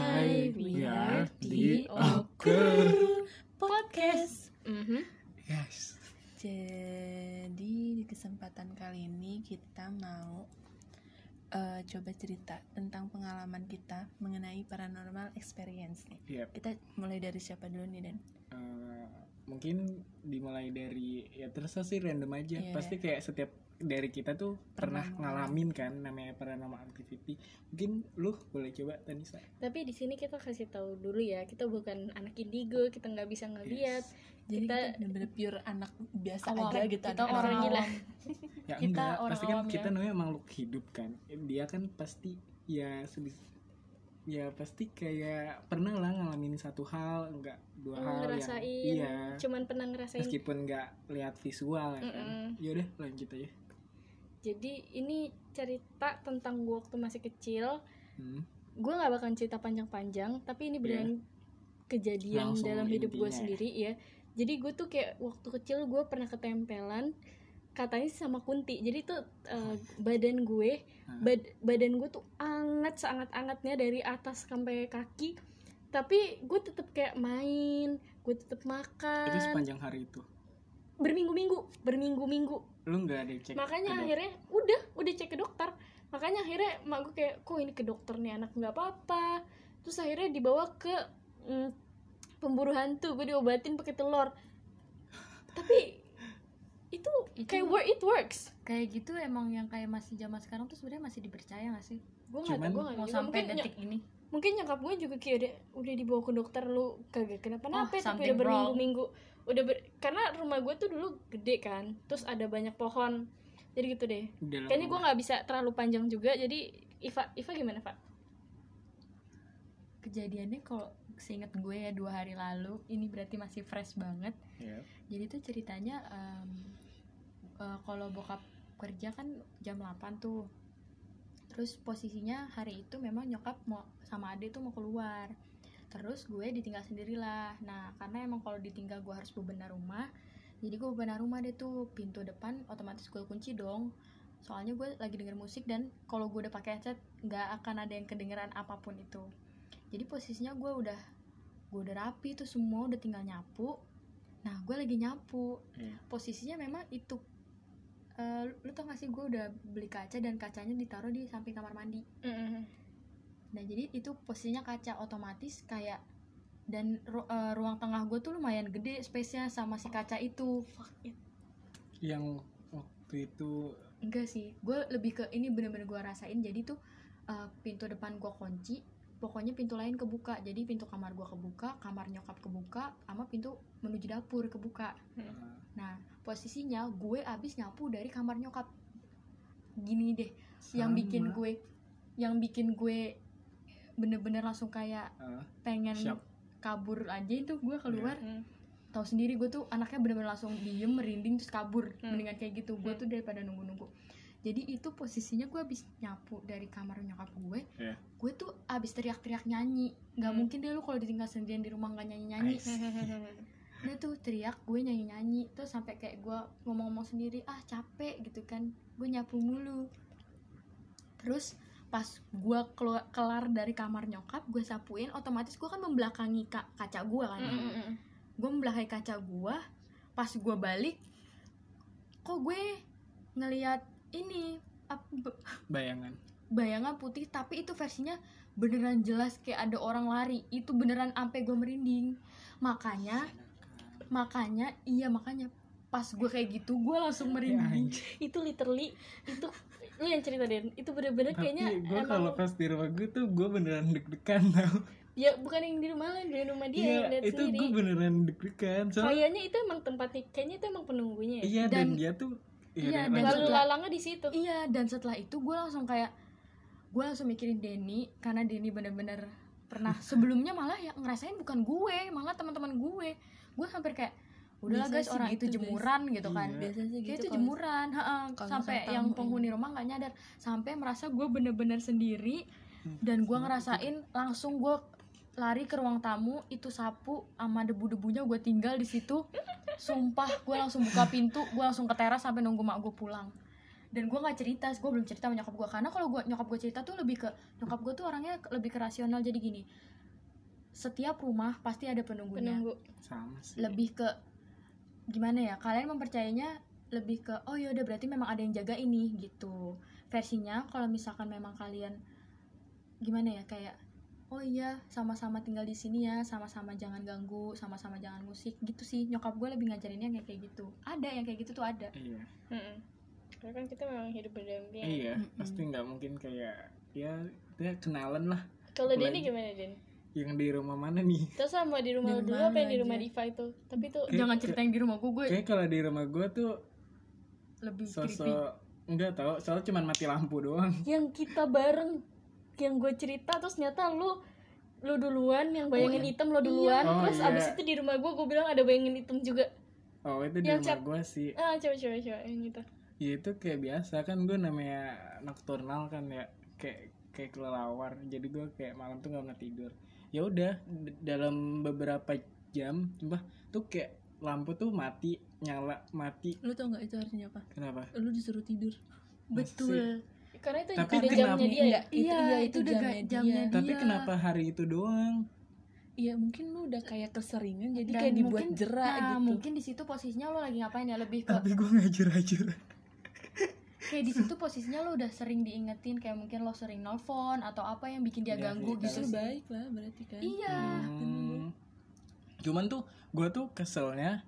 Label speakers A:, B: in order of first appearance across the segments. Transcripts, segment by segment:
A: Mhm.
B: eh, coba cerita tentang pengalaman kita mengenai paranormal experience nih.
C: Yep.
B: Kita mulai dari siapa dulu nih Dan?
C: Eh, mungkin dimulai dari ya terus sih random aja
B: Iya.
C: pasti kayak setiap dari kita tuh pernah,
B: Pernah
C: ngalamin kan namanya paranormal activity mungkin lu boleh coba Tanisa
D: Tapi di sini kita kasih tahu dulu ya, kita bukan anak indigo, kita nggak bisa ngeliat.
C: Yes.
B: Jadi kita,
D: Kita-
B: bener-bener pure anak biasa
A: Awam.
B: aja gitu.
A: Kita
B: anak
A: orang
B: awam.
D: gila.
C: ya
A: Kita
C: enggak
A: orang
C: pasti kan
A: awam
C: kita
A: ya.
C: namanya makhluk hidup kan dia kan pasti ya sebis ya pasti kayak pernah lah ngalamin satu hal enggak dua
D: Hmm,
C: hal
D: ngerasain,
C: yang iya
D: cuman pernah ngerasain.
C: meskipun enggak lihat visual ya kan
D: Mm-mm.
C: yaudah lanjut aja
D: Jadi ini cerita tentang gue waktu masih kecil.
C: Hmm,
D: Gue nggak bakalan cerita panjang-panjang, tapi ini beneran
C: Iya.
D: kejadian
C: Langsung
D: dalam hidup gue
C: intinya.
D: sendiri ya. Jadi gue tuh kayak waktu kecil gue pernah ketempelan katanya sama kunti. Jadi tuh eh, badan gue,
C: Hah.
D: bad- badan gue tuh anget seangat-angatnya dari atas sampai kaki. Tapi gue tetep kayak main, gue tetep
C: itu
D: makan.
C: sepanjang hari itu
D: Berminggu-minggu, berminggu-minggu
C: lu enggak ada cek ke
D: makanya akhirnya udah udah cek ke dokter makanya akhirnya mak gue kayak kok ini ke dokter nih anak nggak apa-apa terus akhirnya dibawa ke mm, pemburu hantu gue diobatin pakai telur tapi itu
A: Itu-
D: kayak where it works
A: kayak gitu emang yang kayak masih zaman sekarang tuh sebenarnya masih dipercaya gak sih
D: gue nggak
C: Cuman
D: tahu gue nggak
A: mau
D: juga.
A: sampai
D: Iya, mungkin, ya.
A: detik ini
D: ny- mungkin nyokap gue juga kayak udah udah dibawa ke dokter lu kagak kenapa-napa
A: Oh,
D: tapi
A: something
D: udah berminggu-minggu udah ber- karena rumah gue tuh dulu gede kan terus ada banyak pohon jadi gitu deh
C: dalam
D: kayaknya gue nggak bisa terlalu panjang juga jadi Iva Iva gimana Pak?
A: kejadiannya kalau seingat gue ya dua hari lalu ini berarti masih fresh banget
C: ya.
A: jadi tuh ceritanya em, eh, kalau bokap kerja kan jam 8 tuh terus posisinya hari itu memang nyokap mau sama ade tuh mau keluar terus gue ditinggal sendirilah nah karena emang kalau ditinggal gue harus bebenah rumah jadi gue bebenah rumah deh tuh pintu depan otomatis gue kunci dong soalnya gue lagi denger musik dan kalau gue udah pakai headset nggak akan ada yang kedengeran apapun itu jadi posisinya gue udah gue udah rapi tuh semua udah tinggal nyapu nah gue lagi nyapu
C: Iya.
A: posisinya memang itu Eh, lu tau gak sih gue udah beli kaca dan kacanya ditaruh di samping kamar mandi Nah jadi itu posisinya kaca otomatis kayak dan ru- eh, ruang tengah gue tuh lumayan gede space-nya sama si kaca itu.
C: yang waktu itu
A: Enggak sih, gue lebih ke ini bener-bener gue rasain jadi tuh eh, pintu depan gue kunci, pokoknya pintu lain kebuka. Jadi pintu kamar gue kebuka, kamar nyokap kebuka, sama pintu menuju dapur kebuka.
C: eh,
A: Nah posisinya gue abis nyapu dari kamar nyokap. Gini deh, yang bikin
C: sama,
A: gue, yang bikin gue bener-bener langsung kayak
C: eh,
A: pengen
C: Siap.
A: kabur aja itu gue keluar
D: Hmm.
A: tahu sendiri gue tuh anaknya bener-bener langsung diem merinding terus kabur
D: Hmm.
A: mendingan kayak gitu gue tuh daripada nunggu-nunggu jadi itu posisinya gue abis nyapu dari kamar nyokap gue
C: Iya.
A: gue tuh abis teriak-teriak nyanyi nggak
D: Hmm.
A: mungkin deh lu kalau ditinggal sendirian di rumah nggak nyanyi-nyanyi
C: I see.
A: udah tuh teriak gue nyanyi-nyanyi terus sampai kayak gue ngomong-ngomong sendiri ah capek gitu kan gue nyapu mulu terus pas gue kelu- kelar dari kamar nyokap gue sapuin otomatis gue kan membelakangi ka- kaca gue
D: Mm.
A: kan gue membelakangi kaca gue pas gue balik kok gue ngelihat ini ap- b-
C: bayangan
A: bayangan putih tapi itu versinya beneran jelas kayak ada orang lari itu beneran ampe gue merinding makanya makanya iya makanya pas gue kayak gitu gue
B: Ya,
A: langsung merinding
C: Iya, anjing.
D: itu literally itu lu yang cerita Den itu bener-bener kayaknya
C: tapi gue
D: emang-
C: kalau pas di rumah gue tuh gue beneran deg-degan tau
D: ya bukan yang di rumah lu di rumah dia
C: Iya,
D: yang lihat
C: itu gue
D: sendiri Oh, iya.
C: beneran deg-degan soalnya
D: kayaknya itu emang tempatnya kayaknya itu emang penunggunya ya?
C: iya dan,
A: Dan-
C: dia tuh
A: iya,
C: udah,
A: dan
C: lanjut.
D: lalu
A: juga-
D: lalangnya di situ
A: iya dan setelah itu gue langsung kayak gue langsung mikirin Denny karena Denny bener-bener pernah sebelumnya malah ya ngerasain bukan gue malah teman-teman gue gue hampir kayak udahlah
B: Biasanya
A: guys orang
B: sih
A: itu
B: gitu, guys."
A: jemuran gitu kan
C: Iya.
B: Biasanya sih
A: kayak
B: gitu.
A: itu
B: kalau-
A: jemuran ha-ha.
B: kalau
A: sampai
B: misalnya
A: yang
B: tamu
A: penghuni rumah nggak nyadar sampai merasa gue bener-bener sendiri dan gue ngerasain langsung gue lari ke ruang tamu itu sapu sama debu-debunya gue tinggal di situ sumpah gue langsung buka pintu gue langsung ke teras sampai nunggu mak gue pulang dan gue nggak cerita gue belum cerita sama nyokap gue karena kalau gue nyokap gue cerita tuh lebih ke nyokap gue tuh orangnya ke- lebih ke rasional jadi gini setiap rumah pasti ada penunggunya
D: penunggu
C: sama sih
A: lebih ke ya gimana ya kalian mempercayainya lebih ke oh yaudah berarti memang ada yang jaga ini gitu versinya kalau misalkan memang kalian gimana ya kayak oh iya sama-sama tinggal di sini ya sama-sama jangan ganggu sama-sama jangan musik gitu sih nyokap gue lebih ngajarinnya kayak kayak gitu ada yang kayak gitu tuh ada
C: iya
D: Mm-mm. Karena kan kita memang hidup berdampingan.
C: iya
B: Mm-mm.
C: pasti nggak mungkin kayak ya kita kenalan lah
D: Kalau Denny
C: Apalagi-
D: gimana Den?
C: yang di rumah mana nih
D: Terus sama di rumah,
B: Di
D: lu dulu
B: rumah
D: apa yang
B: lu
D: di rumah
B: aja.
D: Diva itu? Tapi tuh
C: Kayak-
A: jangan cerita yang di rumah gue gue
C: kayak kalau di rumah gue tuh
A: lebih creepy
C: sosok nggak tahu soalnya cuman mati lampu doang
D: yang kita bareng yang gue cerita terus nyata lu lu duluan yang bayangin
B: Oh,
D: hitam lo duluan
C: Oh,
D: terus
C: iya.
D: abis itu di rumah gue gue bilang ada bayangin hitam juga
C: oh itu di
D: Yang
C: rumah
D: cap-
C: gue sih
D: ah coba coba coba yang gitu
C: ya itu kayak biasa kan gue namanya nocturnal kan ya kayak kayak kelelawar jadi gue kayak malam tuh nggak pernah tidur ya udah d- dalam beberapa jam mbah tuh kayak lampu tuh mati nyala mati
B: Lu tau nggak itu artinya apa?
C: kenapa
B: Lu disuruh tidur.
C: Betul.
D: karena itu
C: Tapi
D: ada
C: itu
D: jamnya
C: namanya-
D: dia ya?
B: Enggak, itu,
A: Iya,
B: iya,
A: itu
B: itu,
A: udah
B: jamnya,
A: ga- jamnya
B: dia.
C: tapi
A: Iya.
C: kenapa hari itu doang
B: Iya, mungkin lu udah kayak keseringan jadi
A: Dan
B: kayak dibuat
A: mungkin-
B: jerak
A: nah,
B: gitu.
A: mungkin di situ posisinya lo lagi ngapain ya lebih ke
C: tapi gue ngajur ajur
A: kayak di situ posisinya lo udah sering diingetin kayak mungkin lo sering nelfon atau apa yang bikin dia
C: Iya,
A: ganggu
C: iya,
A: gitu
B: Justru
C: Terus-
B: baik lah berarti kan.
A: iya
C: Hmm. cuman tuh gue tuh keselnya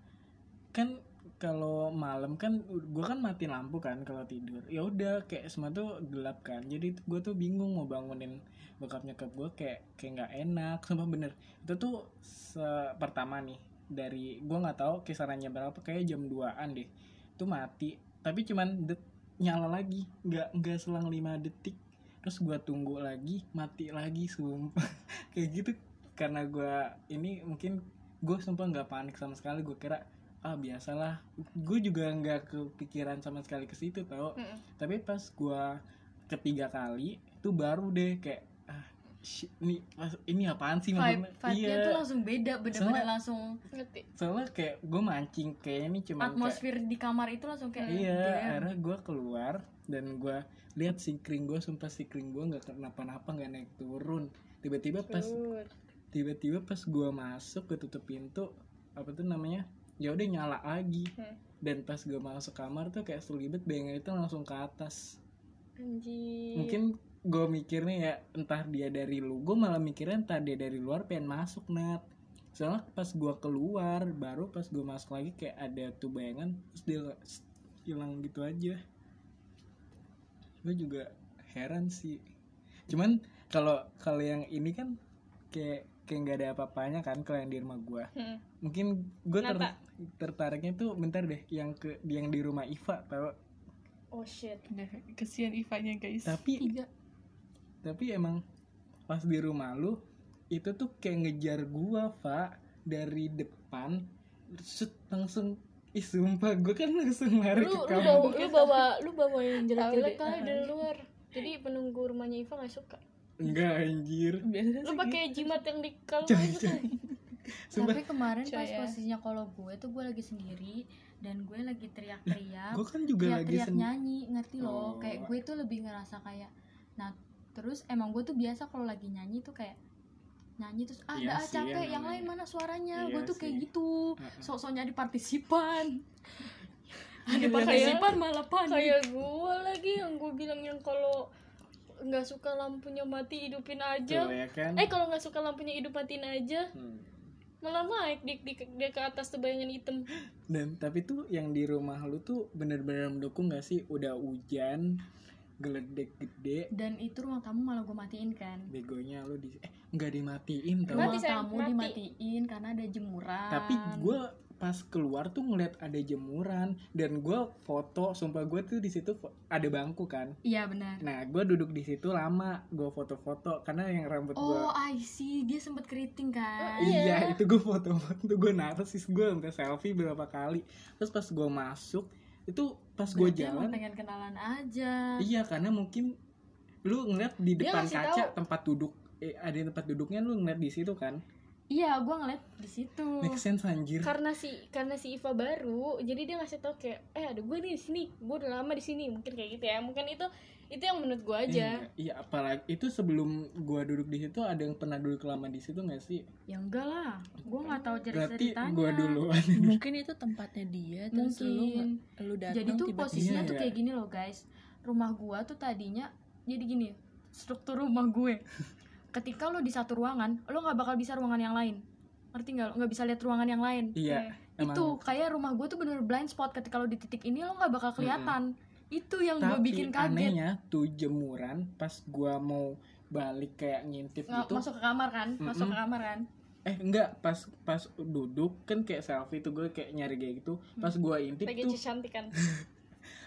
C: kan kalau malam kan gue kan mati lampu kan kalau tidur ya udah kayak semua tuh gelap kan jadi gue tuh bingung mau bangunin bokap nyokap gue kayak kayak nggak enak sumpah bener itu tuh se- pertama nih dari gue nggak tahu kisarannya berapa kayak jam 2an deh itu mati tapi cuman det- nyala lagi nggak nggak selang 5 detik terus gue tunggu lagi mati lagi sumpah kayak gitu karena gue ini mungkin gue sumpah nggak panik sama sekali gue kira ah biasalah gue juga nggak kepikiran sama sekali ke situ tau
D: Mm-mm.
C: tapi pas gue ketiga kali itu baru deh kayak ah shit, ini mas- ini apaan sih
A: vibe
C: maksudnya?"
A: vibe-nya
C: iya
A: tuh langsung beda bener-bener
C: Soalnya-
A: langsung
D: ngerti
C: soalnya kayak gue mancing kayak ini cuma
A: atmosfer di kamar itu langsung kayak
C: iya
A: damn.
C: akhirnya gue keluar dan gue lihat sikring gue sumpah sikring gue nggak kenapa-napa nggak naik turun tiba-tiba pas
D: Good.
C: tiba-tiba pas gua masuk gue tutup pintu apa tuh namanya ya udah nyala lagi
D: Hmm.
C: dan pas gua masuk kamar tuh kayak selibet bayangin itu langsung ke atas
D: anjir
C: mungkin gue mikirnya ya entah dia dari lu gue malah mikirnya entah dia dari luar pengen masuk nat soalnya pas gua keluar baru pas gua masuk lagi kayak ada tuh bayangan terus dia s- hilang gitu aja gue juga heran sih cuman kalau kalau yang ini kan kayak kayak nggak ada apa-apanya kan kalau yang di rumah gua
D: Hmm.
C: mungkin gue
D: Kenapa?
C: tertariknya tuh bentar deh yang ke yang di rumah Iva tau
D: oh shit
B: Nah, kesian Ivanya, guys.
C: tapi
B: Iya.
C: tapi emang pas di rumah lu itu tuh kayak ngejar gua pak dari depan set langsung ih sumpah gue kan langsung lari
D: lu
C: ke
D: lu
C: kamar
D: bawa lu bawa lu bawa yang jelek-jelek
B: Tahu deh.
D: kali dari luar jadi penunggu rumahnya Iva gak suka
C: enggak anjir
B: Biasanya
D: lu
B: sih
D: pakai jimat yang di kalung
C: Coy,
D: itu tuh.
C: sumpah
D: kan
A: tapi kemarin
B: Coy,
A: pas
B: ya.
A: posisinya kalau gue tuh gue lagi sendiri dan gue lagi teriak-teriak
C: gue kan juga lagi
A: teriak-teriak
C: sen
A: nyanyi ngerti loh
C: Oh.
A: kayak gue tuh lebih ngerasa kayak nah terus emang gue tuh biasa kalau lagi nyanyi tuh kayak nyanyi terus ah
C: Iya
A: dah ah,
C: sih,
A: capek
C: yang
A: yang
C: namanya.
A: lain mana suaranya
C: Iya
A: gue tuh kayak
C: sih.
A: gitu
C: Heeh.
A: sok-sok nyari partisipan ada
D: Iya,
A: partisipan malah panik
D: kayak gue ya lagi yang gue bilang yang kalau nggak suka lampunya mati hidupin
C: tuh
D: aja
C: ya kan
D: eh kalau nggak suka lampunya hidup matiin aja
C: Hmm.
D: malah naik di, di, dia ke atas tuh bayangan hitam
C: dan tapi tuh yang di rumah lu tuh bener-bener mendukung gak sih udah hujan geledek gede
A: dan itu ruang tamu malah gue matiin kan
C: begonya lu di eh nggak dimatiin tau
A: ruang
D: Mati, sayang,
A: tamu
D: mati.
A: dimatiin karena ada jemuran
C: tapi gue pas keluar tuh ngeliat ada jemuran dan gue foto sumpah gue tuh di situ fo- ada bangku kan
A: iya benar
C: nah gue duduk di situ lama gue foto-foto karena yang rambut gue
A: oh I see dia sempet keriting
D: Oh,
A: kan
C: iya itu gue foto-foto gue narsis gue sampai selfie berapa kali terus pas gue masuk itu pas gue
A: Berarti emang
C: jalan
A: pengen kenalan aja
C: iya karena mungkin lu ngeliat di
D: Dia
C: depan
D: ngasih
C: kaca tempat duduk eh, ada tempat duduknya lu ngeliat di situ kan
A: iya gue ngeliat di situ
C: make sense anjir
D: karena si karena si Iva baru jadi dia ngasih tau kayak eh ada gue nih di sini gue udah lama di sini mungkin kayak gitu ya mungkin itu itu yang menurut gue aja
C: Iya, iya, apalagi itu sebelum gua duduk di situ ada yang pernah duduk lama di situ nggak sih?
A: ya enggak lah gue nggak tahu
C: Berarti
A: cerita-ceritanya
C: gua duluan.
B: gitu. mungkin itu tempatnya dia terus lu
A: mungkin
B: lu datang
A: jadi tuh
B: tiba-tiba.
A: posisinya
C: Iya,
A: tuh
C: iya.
A: kayak gini loh guys rumah gua tuh tadinya jadi gini struktur rumah gue ketika lo di satu ruangan lo nggak bakal bisa ruangan yang lain ngerti nggak lo nggak bisa lihat ruangan yang lain
C: Iya. emang.
A: itu kayak rumah gue tuh bener blind spot ketika lo di titik ini lo nggak bakal kelihatan itu yang gue
C: Tapi
A: bikin kaget
C: anehnya tuh jemuran pas gua mau balik kayak ngintip
A: Nggak-
C: gitu.
A: masuk ke kamar kan masuk ke
C: Mm-mm.
A: kamar kan
C: Eh enggak, pas pas duduk kan kayak selfie tuh gue kayak nyari kayak gitu. Pas gua intip
D: Lagi kan?
C: tuh
D: kecantikan.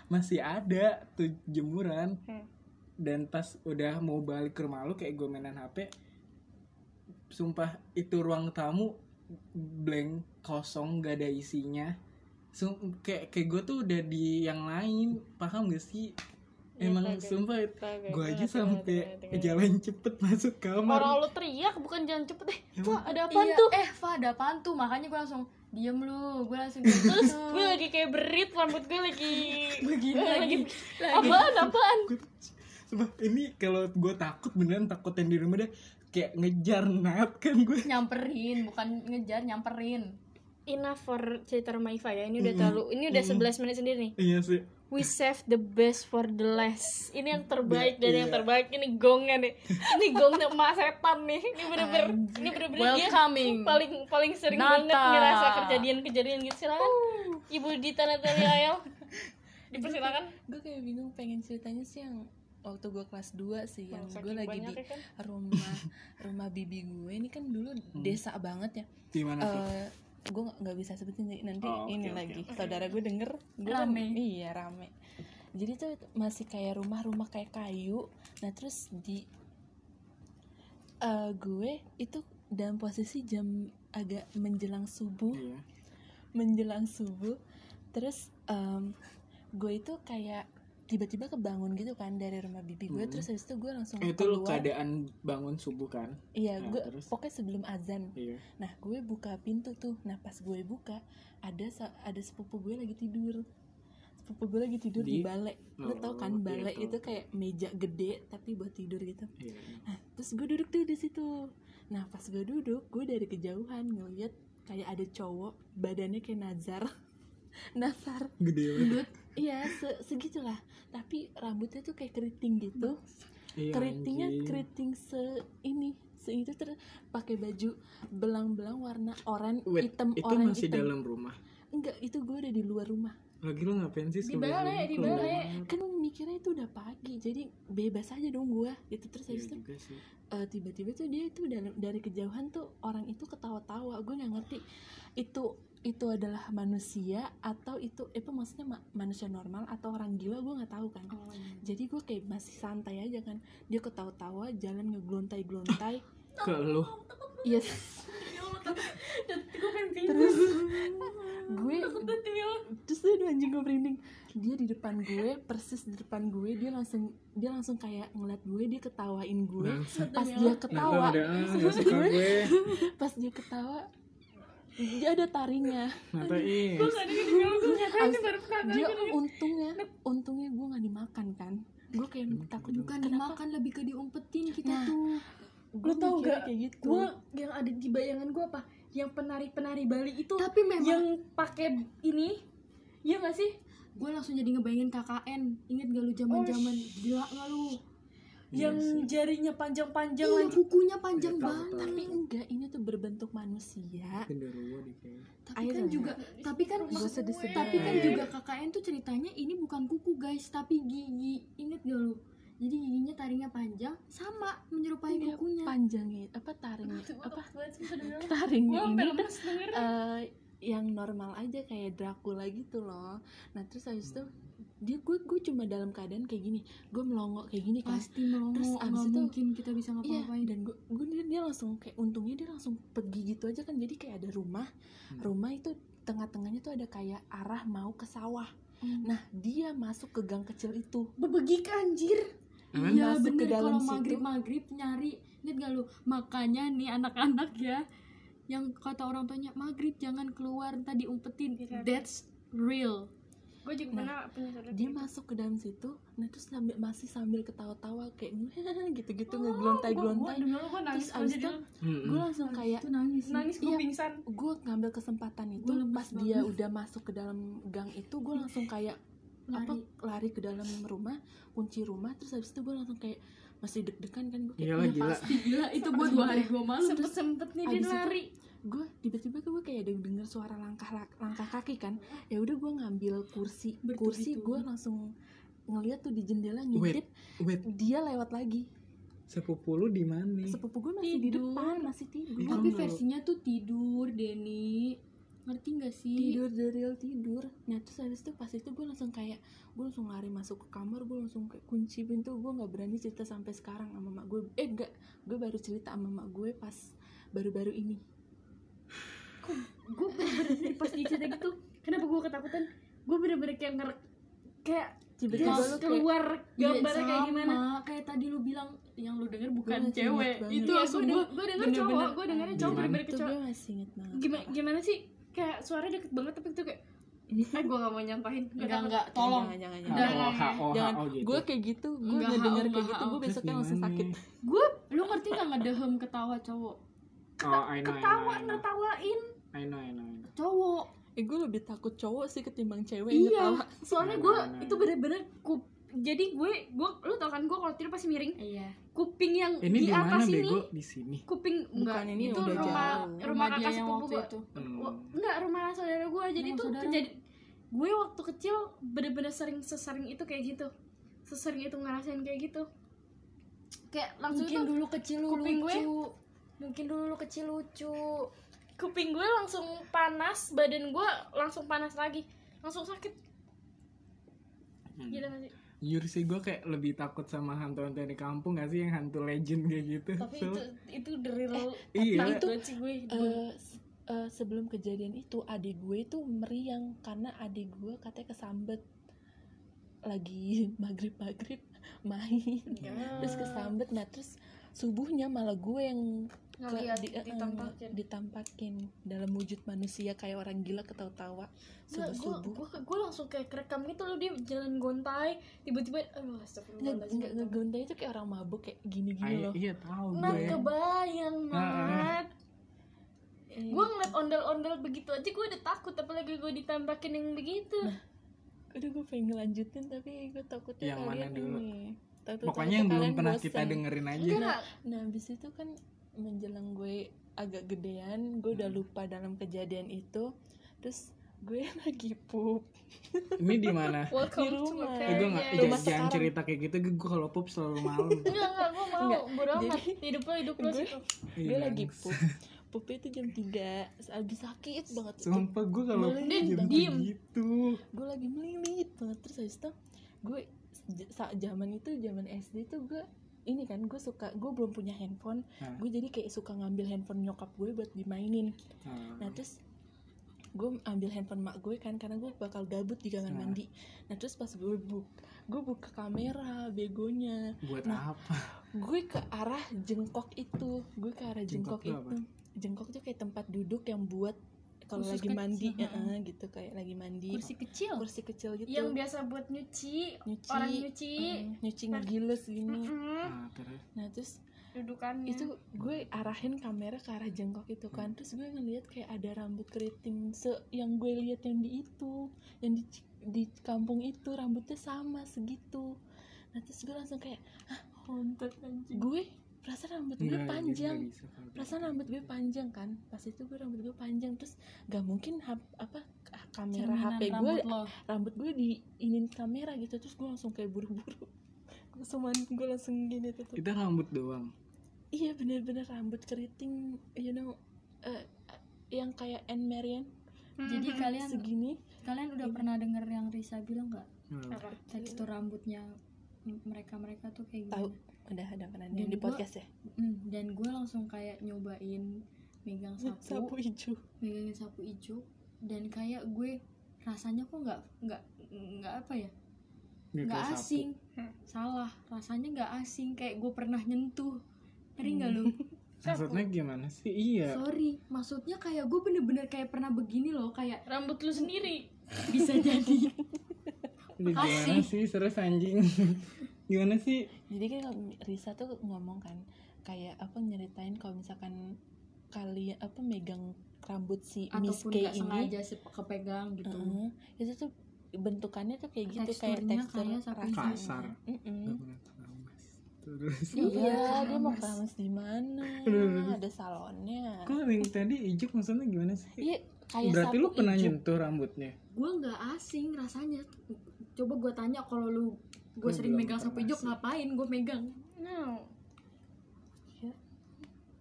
C: masih ada tuh jemuran
D: Hmm.
C: dan pas udah mau balik ke rumah lu kayak gue mainan HP sumpah itu ruang tamu blank kosong gak ada isinya Sum- kayak kayak gue tuh udah di yang lain paham gak sih emang
D: Iya, kayak-
C: sumpah
D: kayak-
C: gue
D: kayak-
C: aja
D: kayak-
C: sampai
D: kayak- kayak-
C: jalan cepet masuk kamar
D: gitu Orang lu teriak bukan jalan cepet eh. Wah, ada apaan
A: Iya,
D: tuh?
A: eh Fa ada apaan tuh makanya gue langsung diem lu gue langsung kayak gitu.
D: Terus gue lagi kayak berit rambut gue lagi
A: Begini
D: Eh,
A: lagi.
D: Apaan apaan?
C: Gua- sumpah ini kalau gue takut beneran takut yang di rumah deh kayak ngejar nat kan gue
A: nyamperin bukan ngejar nyamperin
D: Enough for cerita rumah Iva ya. Ini udah terlalu ini udah 11 menit sendiri nih.
C: iya sih
D: We save the best for the last. Ini yang terbaik dan yang
C: Iya.
D: terbaik ini gongnya nih. Ini gongnya emak setan nih. Ini bener-bener ini bener-bener dia
A: Welcoming.
D: paling paling sering banget
A: Nata.
D: ngerasa kejadian-kejadian gitu. Silakan. Ibu Dita Natalia Ayel. Dipersilakan.
B: gue kayak bingung pengen ceritanya sih yang waktu gue kelas 2 sih
A: Iya,
B: yang
D: Saking
B: gue lagi di
D: banyaknya kan.
B: rumah rumah bibi gue ini kan dulu desa banget ya
C: di mana tuh
B: gue nggak bisa sebutin jadi nanti
C: Oh, oke,
B: ini
C: oke,
B: lagi saudara gue denger gue
A: Rame.
B: iya rame jadi tuh masih kayak rumah-rumah kayak kayu nah terus di eh, gue itu dalam posisi jam agak menjelang subuh
D: Eh,
C: Iya.
B: menjelang subuh terus em, gue itu kayak tiba-tiba kebangun gitu kan dari rumah bibi gue
C: Hmm.
B: terus habis itu gue langsung
C: Eh, itu lu
B: keluar
C: keadaan bangun subuh kan
B: iya
C: Nah,
B: gue
C: terus?
B: pokoknya sebelum azan
C: iya
B: Nah, gue buka pintu tuh. Nah, pas gue buka, ada sa- ada sepupu gue lagi tidur. Sepupu gue lagi tidur di,
C: Di?
B: balai. Lo tau
C: Oh,
B: kan
C: iya,
B: balai
C: tau,
B: itu
C: tau.
B: kayak meja gede tapi buat tidur gitu.
C: iya
B: Nah, terus gue duduk tuh di situ. Nah, pas gue duduk, gue dari kejauhan ngeliat kayak ada cowok badannya kayak Nazar. Nazar.
C: gede banget
B: Iya, se- segitulah. Tapi rambutnya tuh kayak keriting gitu
C: Iya,
B: keritingnya
C: anjing.
B: keriting se ini se itu terus pakai baju belang-belang warna oranye
C: Wait,
B: hitam
C: itu
B: oranye
C: masih
B: hitam
C: dalam rumah
B: enggak itu gue udah di luar rumah
C: lagi lu ngapain sih
A: Di
C: sebelum
A: balai,
C: lu
A: di
C: keluar? Iya
A: balai.
B: kan gue mikirnya itu udah pagi jadi bebas aja dong gue gitu terus
C: Iya
B: habis itu
C: juga sih.
B: eh, tiba-tiba tuh dia itu dalam- dari kejauhan tuh orang itu ketawa-tawa gue nggak ngerti itu itu adalah manusia atau itu eh, apa maksudnya ma- manusia normal atau orang gila gue nggak tahu kan jadi gue kayak masih santai aja kan dia ketawa-tawa jalan ngeglontai-glontai
C: ke lu
B: Yes.
A: kan
B: Terus gue terus dia anjing gue merinding. Dia di depan gue, persis di depan gue, dia langsung dia langsung kayak ngeliat gue, dia ketawain gue.
C: bangsat
B: Pas dia
C: Nata
B: ketawa,
C: udah ah, gak suka gue
B: pas dia ketawa, dia ada tarinya.
C: Nata ih
B: Abis- dia untungnya, untungnya gue nggak dimakan kan. Gue kayak takut
A: bukan dimakan lebih ke diumpetin kita
B: Nah,
A: tuh
B: Gue
A: Lu tau
B: mikirnya
A: gak?
B: Kayak gitu.
A: gue yang ada di bayangan gue apa yang penari penari Bali itu
D: Tapi memang
A: yang pakai ini ya gak sih gue langsung jadi ngebayangin KKN inget gak lu zaman zaman gila gak lu
C: Iya
A: yang
C: sih.
A: jarinya panjang-panjang
B: Iya,
A: anjing. kukunya panjang
C: Iya, tahu,
A: banget
C: tahu.
B: Tapi enggak, ini tuh berbentuk manusia.
C: Genderuwo di kayak
A: tapi
B: Ayo
A: kan
B: dong.
A: juga tapi kan
B: Gak usah disebar.
A: tapi kan
C: Iya.
A: juga KKN tuh ceritanya ini bukan kuku guys tapi gigi inget gak lu jadi giginya taringnya panjang sama menyerupai
B: Iya,
A: kukunya
B: panjangnya apa taringnya apa
D: apa? Gue
B: taringnya
D: sampai
B: ini
D: lemes denger.
B: eh, yang normal aja kayak Dracula gitu loh nah terus habis itu dia gue gue cuma dalam keadaan kayak gini gue melongo kayak gini kan
A: pasti melongo
B: Terus
A: nggak
B: abis itu-
A: mungkin kita bisa
B: Iya,
A: ngapa-ngapain
B: dan gue, gue dia, dia langsung kayak untungnya dia langsung pergi gitu aja kan jadi kayak ada rumah
C: Hmm.
B: rumah itu tengah-tengahnya tuh ada kayak arah mau ke sawah
A: Hmm.
B: nah dia masuk ke gang kecil itu
A: bebegik anjir
C: Emang?
A: iya
B: Masuk ke
A: bener
B: dalam
A: kalau
B: situ.
A: maghrib maghrib nyari inget gak lu makanya nih anak-anak ya yang kata orang tuanya maghrib jangan keluar ntar diumpetin
D: Iya.
A: that's real Nah,
D: juga pernah punya saudara
B: dia
D: gitu.
B: masuk ke dalam situ nah terus sambil, masih sambil ketawa-tawa kayak gitu-gitu
A: Oh,
B: ngeglontai-glontai
D: Gua- gua- dulu gua nangis
B: Terus
D: kalau
B: abis
D: jadi
B: itu
C: Mm-mm.
B: gue langsung kayak
A: itu nangis sih.
D: nangis gue
B: Iya.
D: pingsan
B: gue ngambil kesempatan itu
A: Gua lemes Iya.
B: pas dia udah masuk ke dalam gang itu gue langsung kayak apa
A: Lari.
B: lari ke dalam rumah kunci rumah terus habis itu gue langsung kayak masih deg-degan kan gue kayak
C: Iyalah,
B: "Iya,
C: gila."
B: pasti gila itu gue dua hari gue malu
D: sempet
B: terus
D: sempet nih dia
B: abis itu-
D: lari
B: gue tiba-tiba tuh gue kayak ada denger suara langkah langkah kaki kan ya udah gue ngambil kursi kursi gue langsung ngeliat tuh di jendela ngintip
C: wait
B: dia lewat lagi
C: sepupu lu di mana
B: sepupu gue masih di
A: Tidur.
B: depan masih
C: Ih,
B: tidur
C: kamu
A: tapi
C: nggak-
A: versinya tuh tidur Denny ngerti nggak sih
B: tidur the real tidur nah terus habis itu pas itu gue langsung kayak gue langsung lari masuk ke kamar gue langsung kayak kunci pintu gue nggak berani cerita sampai sekarang sama mak gue eh enggak gue baru cerita sama mak gue pas baru-baru ini
D: gue bener-bener pas di cerita gitu kenapa gue ketakutan gue bener-bener kayak ngerek kayak
B: tiba-tiba
D: gas
B: lu kayak
D: keluar
A: Iya,
D: gambarnya kayak
A: sama.
D: gimana
A: kayak tadi lu bilang yang lu denger bukan
B: Gua masih ingat
A: cewek
B: banget.
A: itu
D: Iya,
A: langsung
D: gua
A: gue
D: denger- gua denger cowok, gua dengernya cowok
C: Gimana?
D: bener-bener
B: itu
D: kecoh-
B: gue masih inget banget
D: gimana gimana sih kayak suaranya deket banget tapi itu kayak eh gue gak mau nyampahin Gua
A: enggak
D: takut.
A: enggak tolong
B: jangan jangan
C: H
B: jangan,
A: Udah,
C: O H O H
B: jangan.
C: O gitu
B: gue kayak gitu gue
A: Enggak,
B: nggak denger
A: hao,
B: kayak
A: enggak,
B: gitu gue
C: Terus
B: besoknya langsung
C: gimana?
B: sakit
A: gue lu ngerti nggak ngedehem ketawa cowok
C: oh I know I know,
D: ketawa
C: I know
D: nertawain
C: I know I know I know.
A: cowok
B: eh gue lebih takut cowok sih ketimbang cewek yang
D: iya
B: ketawa
D: soalnya
C: Nah,
D: gue
C: nah, nah.
D: itu bener-bener kup jadi gue gue lu tau kan gue kalau tidur pasti miring
A: iya
D: kuping yang
C: ini di
D: di
C: mana
D: atas ini
C: bego di sini
D: kuping enggak
B: Bukan, ini
D: itu
B: udah
D: rumah
B: jauh.
D: rumah
A: dia
D: kakak
A: yang
D: sepupu
A: waktu
D: gue
A: itu.
C: Hmm.
D: Wa- enggak rumah saudara gue jadi
A: Rumah
D: tuh
A: saudara.
D: kejadian gue waktu kecil bener-bener sering sesering itu kayak gitu sesering itu ngerasain kayak gitu kayak langsung
A: mungkin
D: tuh
A: dulu kecil lu
D: kuping gue-
A: lucu mungkin dulu lu kecil lucu
D: kuping gue langsung panas badan gue langsung panas lagi langsung sakit
C: Hmm.
D: gila gak sih
C: Jujur sih gue kayak lebih takut sama hantu-hantu yang di kampung gak sih yang hantu legend kayak gitu
D: tapi
C: So,
D: itu itu dari lo
C: iya
B: tapi Eh, itu-
D: gue
B: Eh, se- eh, sebelum kejadian itu adik gue itu meriang karena adik gue katanya kesambet lagi maghrib maghrib main
D: Ya.
B: terus kesambet nah terus subuhnya malah gue yang ke-
D: ngeliat
B: di- eh, eh,
D: ditampakin
B: ditampakin dalam wujud manusia kayak orang gila ketawa-tawa
D: gue
B: subuh subuh
D: gue gue langsung kayak kerekam gitu loh dia jalan gontai tiba-tiba aduh
B: nggak
D: astagfirullahaladzim gitu."
B: nggak ngegontai itu kayak orang mabuk kayak gini gini
C: Ay-
B: loh
C: iya tahu
B: ya?
D: nah
C: gue
D: kebayang banget
B: Eh,
D: gue ngeliat ondel-ondel begitu aja gue udah takut apalagi gue ditampakin yang begitu
B: Aduh gue pengen ngelanjutin tapi gue takutnya
C: Yang
B: kalian
C: mana dulu?
B: ini. Takut-
C: pokoknya yang
B: takutnya
C: belum
B: kalian
C: pernah kita
B: bosen.
C: dengerin aja
D: enggak
B: Nah, abis itu kan menjelang gue agak gedean, gue udah
C: Hmm.
B: lupa dalam kejadian itu. Terus gue lagi pup.
C: ini di mana
D: welcome
B: Di
D: to
B: rumah.
D: my
C: Eh,
B: Iya,
C: gue nggak jangan-
B: rumah
C: jangan,
B: sekarang.
C: cerita kayak gitu gue kalau pup selalu malam
D: enggak enggak gue mau
B: Enggak,
D: bodo
B: jadi-
D: amat hidup lo hidup lo
B: Gue-
D: situ.
B: Gue
C: Iya.
B: lagi pup. Pupnya itu jam 3. Terus Abis sakit banget.
C: sumpah gue kalau pup
D: Diem,
C: jadi
D: diem.
C: gitu
B: Gue lagi melilit banget. Terus abis itu gue j- saat zaman itu zaman SD tuh gue ini kan gue suka gue belum punya handphone
C: Hah.
B: gue jadi kayak suka ngambil handphone nyokap gue buat dimainin Nah terus gue ambil handphone mak gue kan karena gue bakal gabut di kamar
C: Nah.
B: mandi. Nah terus pas gue buk, gue buka kamera begonya,
C: buat
B: Nah,
C: apa
B: gue ke arah jengkok itu, gue ke arah jengkok,
C: Jengkok itu
B: itu. Jengkok tuh kayak tempat duduk yang buat kalau
A: Khusus
B: lagi mandi,
A: kecil,
B: eh, gitu kayak lagi mandi.
A: kursi kecil
B: Kursi kecil gitu.
D: yang biasa buat nyuci
B: nyuci,
D: orang nyuci
B: eh, nyuci ngegiles gini.
D: Mm-mm.
C: nah, terus
B: Nah terus
D: dudukannya
B: itu gue arahin kamera ke arah jengkok itu kan terus gue ngeliat kayak ada rambut keriting se yang gue lihat yang di itu yang di di kampung itu rambutnya sama segitu nah terus gue langsung kayak
D: kontak anjing
B: gue perasaan rambut gue
C: Nggak, jadi
B: panjang
C: nggak bisa kalau gitu.
B: perasaan rambut gue panjang kan pas itu gue rambut gue panjang terus gak mungkin hap- apa k- kamera hp gue rambut gue diinin kamera gitu terus gue langsung kayak buru-buru gue langsung mandi, gue langsung gini tuh
C: itu rambut doang
B: Iya bener-bener rambut keriting, you know, eh, yang kayak Anne Marian
A: jadi
D: Hmm.
A: kalian
B: segini.
A: kalian udah pernah denger yang Risa bilang nggak
C: Hmm.
D: apa
A: tekstur rambutnya mereka mereka tuh kayak
B: Tahu,
A: gimana
B: udah ada pernah
A: Dan
B: di
A: gua-
B: podcast ya.
A: Mm, dan gue langsung kayak nyobain megang sapu
B: Sapu hijau.
A: megangin sapu ijo dan kayak gue rasanya kok nggak nggak nggak apa ya
C: Nggak
A: nggak
C: kayak sapu.
A: asing
D: Hmm.
A: salah rasanya nggak asing kayak gue pernah nyentuh ngeri nggak lu
B: Hmm.
C: maksudnya gimana sih
B: Ya.
C: iya
A: sorry maksudnya kayak gue bener-bener kayak pernah begini loh kayak
D: rambut lu sendiri
A: bisa jadi
C: Ini gimana
A: Asing.
C: sih serius anjing gimana sih
B: Jadi kan kalau Risa tuh ngomong kan kayak apa nyeritain kalau misalkan kalian apa megang rambut si Miss
A: ataupun
B: K
A: nggak
B: ini Hmm.
A: sengaja se- kepegang gitu
B: Heeh, itu tuh bentukannya tuh kayak gitu kayak
A: Teksturnya
B: tekstur
A: kayak sapi
B: rasanya.
C: Kasar.
B: Mm-mm.
C: Gak pernah keramas. Terus
B: Iya,
A: Iya,
B: dia mau
A: keramas.
B: keramas di mana?
C: Aduh, aduh, aduh.
B: Ada salonnya.
C: Kok ring tadi ijuk maksudnya gimana sih?
B: Iya, kayak
C: Berarti
B: sapu
C: lu pernah
B: ijuk.
C: nyentuh rambutnya?
A: gue nggak asing rasanya coba gue tanya kalau lu gue
C: Lu
A: sering
C: belum
A: megang sapu
C: pernah
A: ijuk
C: sih.
A: ngapain gue megang
D: No.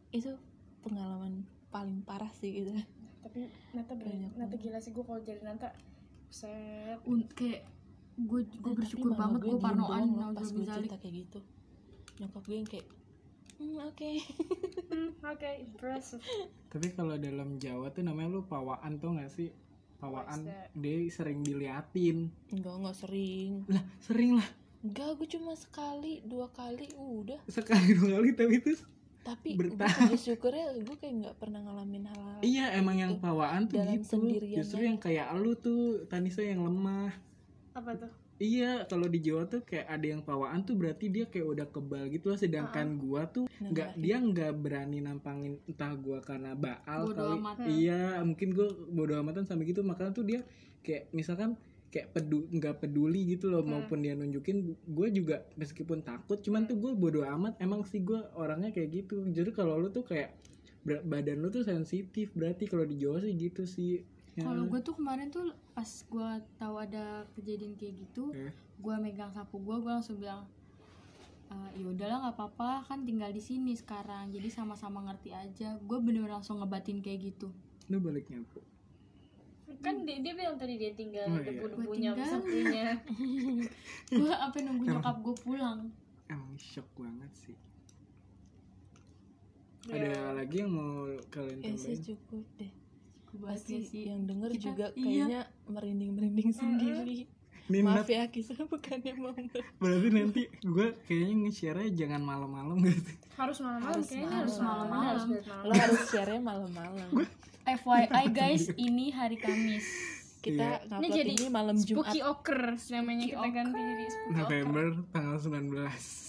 B: Itu pengalaman paling parah sih gitu.
D: Tapi Nata
B: Banyak
D: berani, Nata
B: banget.
D: gila sih gue kalau jadi Nata. Set.
A: Un kayak gue gue
B: Eh, Tapi
A: bersyukur
B: mama
A: banget
B: gue
A: gue
B: diem
A: parnoan
B: doang loh pas gue
A: nauzubillah.
B: cerita kayak gitu. Nyokap gue yang kayak Hmm, oke.
D: Hmm, Oke, impressive.
C: Tapi kalau dalam Jawa tuh namanya lu pawaan tuh gak sih? Pawaan
D: What's that?
C: dia sering diliatin.
B: Enggak, enggak sering.
C: Lah, sering lah.
B: Enggak, gue cuma sekali, dua kali, udah.
C: Sekali dua kali tapi itu
B: Tapi
C: Bertahap.
B: gue syukurnya gue kayak nggak pernah ngalamin hal-hal.
C: Iya, emang yang pawaan tuh
B: Dalam
C: gitu.
B: sendiriannya.
C: Justru yang kayak lu tuh Tanisa yang lemah.
D: Apa tuh?
C: Iya, kalau di Jawa tuh kayak ada yang pawaan tuh berarti dia kayak udah kebal gitu loh. Sedangkan gua tuh
B: Nah,
C: nggak dia nggak berani nampangin entah gua karena baal
A: Bodo
C: kali.
A: amat. Hmm.
C: Iya, mungkin gua bodo amatan sampai gitu makanya tuh dia kayak misalkan kayak pedu nggak peduli gitu loh
A: Hmm.
C: maupun dia nunjukin gue juga meskipun takut cuman tuh gue bodo amat emang sih gue orangnya kayak gitu jadi kalau lu tuh kayak ber- badan lu tuh sensitif berarti kalau di Jawa sih gitu sih Ya.
A: Kalau gue tuh kemarin tuh pas gue tahu ada kejadian kayak gitu,
C: Eh.
A: gue megang sapu gue, gue langsung bilang, "Eh, ya udahlah nggak apa-apa, kan tinggal di sini sekarang, jadi sama-sama ngerti aja. Gue bener langsung ngebatin kayak gitu.
C: lu balik nyapu
D: Kan dia, dia bilang tadi dia tinggal
C: Oh,
D: oh,
C: iya.
D: debu-debunya Iya.
A: Gua
D: sama
A: tinggal.
D: sapunya.
A: Gue apa nunggu nyokap gue pulang.
C: emang shock banget sih
A: Ya.
D: Iya.
C: ada lagi yang mau kalian
B: Ya
A: Eh,
B: sih
C: tambahin
B: cukup deh.
A: Gua banget
B: Pasti
A: ya sih.
B: yang denger
A: Kita-
B: juga
A: iya.
B: kayaknya merinding-merinding sendiri.
C: Ini
B: Maaf
C: Nat,
B: ya kisah bukannya mau ber-
C: berarti nanti gue kayaknya nge-share jangan malam-malam gitu
D: Harus malam-malam
B: Harus
D: kayaknya
B: malam.
D: harus malam-malam.
A: Malam.
D: Harus biar
B: Lo
D: malam.
B: harus share malam-malam.
A: FYI guys, ini hari Kamis.
C: Iya.
B: Kita
D: Ini
B: ngupload
D: jadi
B: ini malam Jumat.
D: Spooky Ocker namanya kita
A: Ocker.
D: ganti jadi Spooky Ocker.
C: November tanggal 19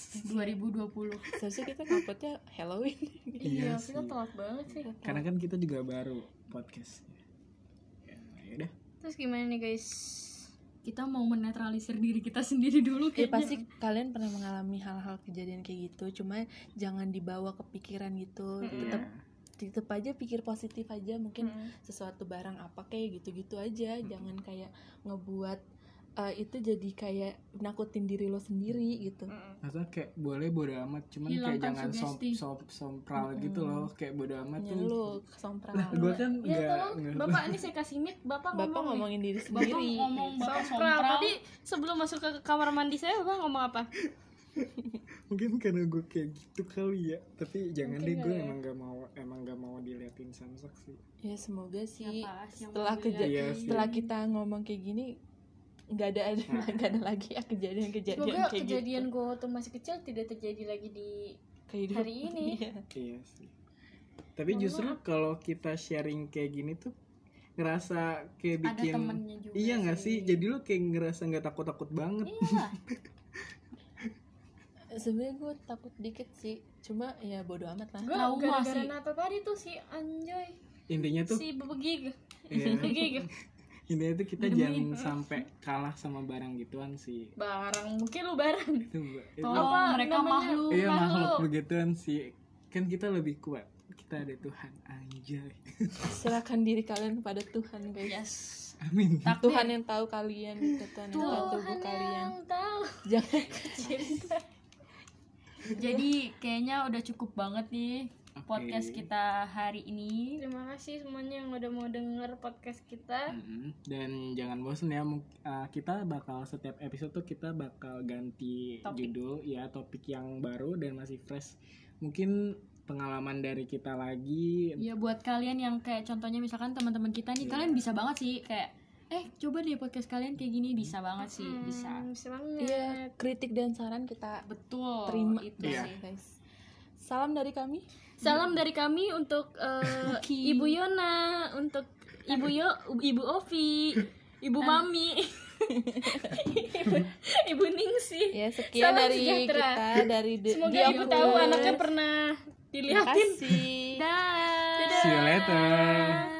A: 2020
B: Seharusnya kita nguploadnya Halloween.
C: Iya
D: Iya,
C: sih.
D: kita telat banget sih.
C: karena kan kita juga baru podcastnya ya yaudah
D: Terus gimana nih guys?
A: kita mau menetralisir diri kita sendiri dulu
B: Ya
A: kayaknya
B: pasti kalian pernah mengalami hal-hal kejadian kayak gitu, cuma jangan dibawa ke pikiran gitu. Tetap
C: Iya.
B: tetap aja pikir positif aja, mungkin
D: Hmm.
B: sesuatu barang apa kayak gitu-gitu aja jangan kayak ngebuat eh, itu jadi kayak nakutin diri lo sendiri gitu
D: Mm-mm.
C: maksudnya kayak boleh bodo amat cuman kayak
A: Hilangkan
C: jangan sop
A: sugesti.
C: sop sompral gitu loh kayak bodo amat
B: ya
C: tuh
B: lo kesompral
C: gue kan
A: Iya,
D: Ya
C: nggak
D: tolong,
C: nggak-
D: Bapak ini saya kasih mic, Bapak,
B: bapak
D: ngomong.
B: ngomongin diri
A: bapak
B: sendiri
A: ngomong bapak
D: Sompral.
A: sompral
D: Tadi sebelum masuk ke kamar mandi saya, Bapak ngomong apa?
C: mungkin karena gue kayak gitu kali ya tapi jangan
D: Mungkin
C: deh gue
D: nggak ya.
C: emang gak mau emang gak mau diliatin samsak sih
B: ya semoga sih
A: Siapa sih yang
B: setelah
A: mau
B: keja
C: Iya sih.
B: setelah kita ngomong kayak gini nggak ada ada nggak ada lagi ya kejadian-kejadian
D: Semoga
B: kayak
D: kejadian
B: gitu
D: gue waktu masih kecil tidak terjadi lagi di
B: Kehidupan.
D: hari ini.
B: Iya.
C: iya sih tapi justru kalau kita sharing kayak gini tuh ngerasa kayak
A: ada
C: bikin
A: temennya juga Iya
C: iya nggak sih jadi lo kayak ngerasa nggak takut takut banget
A: Iyalah.
B: sebenarnya gue takut dikit sih cuma ya bodo amat lah
D: Gue
A: Trauma
D: gara-gara
A: sih.
D: Nata tadi tuh si Anjoy,
C: intinya tuh
D: si Bebegig,
C: iya.
A: gitu.
D: Bebegig.
C: intinya tuh kita jangan sampai kalah sama barang gituan sih
D: Barang, mungkin lu barang.
C: itu itu-
A: tolong
D: Apa
A: mereka
D: namanya?
A: makhluk
C: Iya
D: Makhluk.
C: makhluk begituan sih Kan kita lebih kuat Kita ada Tuhan Anjay
B: serahkan diri kalian kepada Tuhan guys
A: yes
C: Amin
A: Takbir.
B: Tuhan yang tahu kalian gitu Tuhan yang tahu tubuh
D: Tuhan
B: kalian
D: yang tahu.
B: jangan ya,
A: jadi kayaknya udah cukup banget nih podcast
C: Oke.
A: kita hari ini
D: Terima kasih semuanya yang udah mau denger podcast kita.
C: Mm-mm. Dan jangan bosen ya mung- uh, Kita bakal setiap episode tuh kita bakal ganti
A: Topik.
C: judul Ya topik yang baru dan masih fresh Mungkin pengalaman dari kita lagi
A: ya buat kalian yang kayak contohnya misalkan teman-teman kita nih
C: Iya.
A: kalian bisa banget sih kayak eh coba deh podcast kalian kayak gini bisa banget sih
D: Hmm,
A: bisa
D: Bisa banget.
B: iya Oh, kritik dan saran kita
A: betul
B: terima ya,
A: itu
C: Iya.
A: sih
B: guys salam dari kami
D: Salam dari kami untuk eh,
A: Ki.
D: Ibu Yona, untuk Ibu Yo, Ibu Ovi, Ibu Mami, Ibu, Ibu Ningsi.
B: ya sekian
D: Salam
B: dari
D: sejahtera.
B: kita dari The-
D: Semoga
B: The
D: Ibu
B: Awkward.
D: tahu anaknya pernah
B: Terima
D: dilihatin.
B: kasih.
D: Dah.
C: See you later
D: Dadah.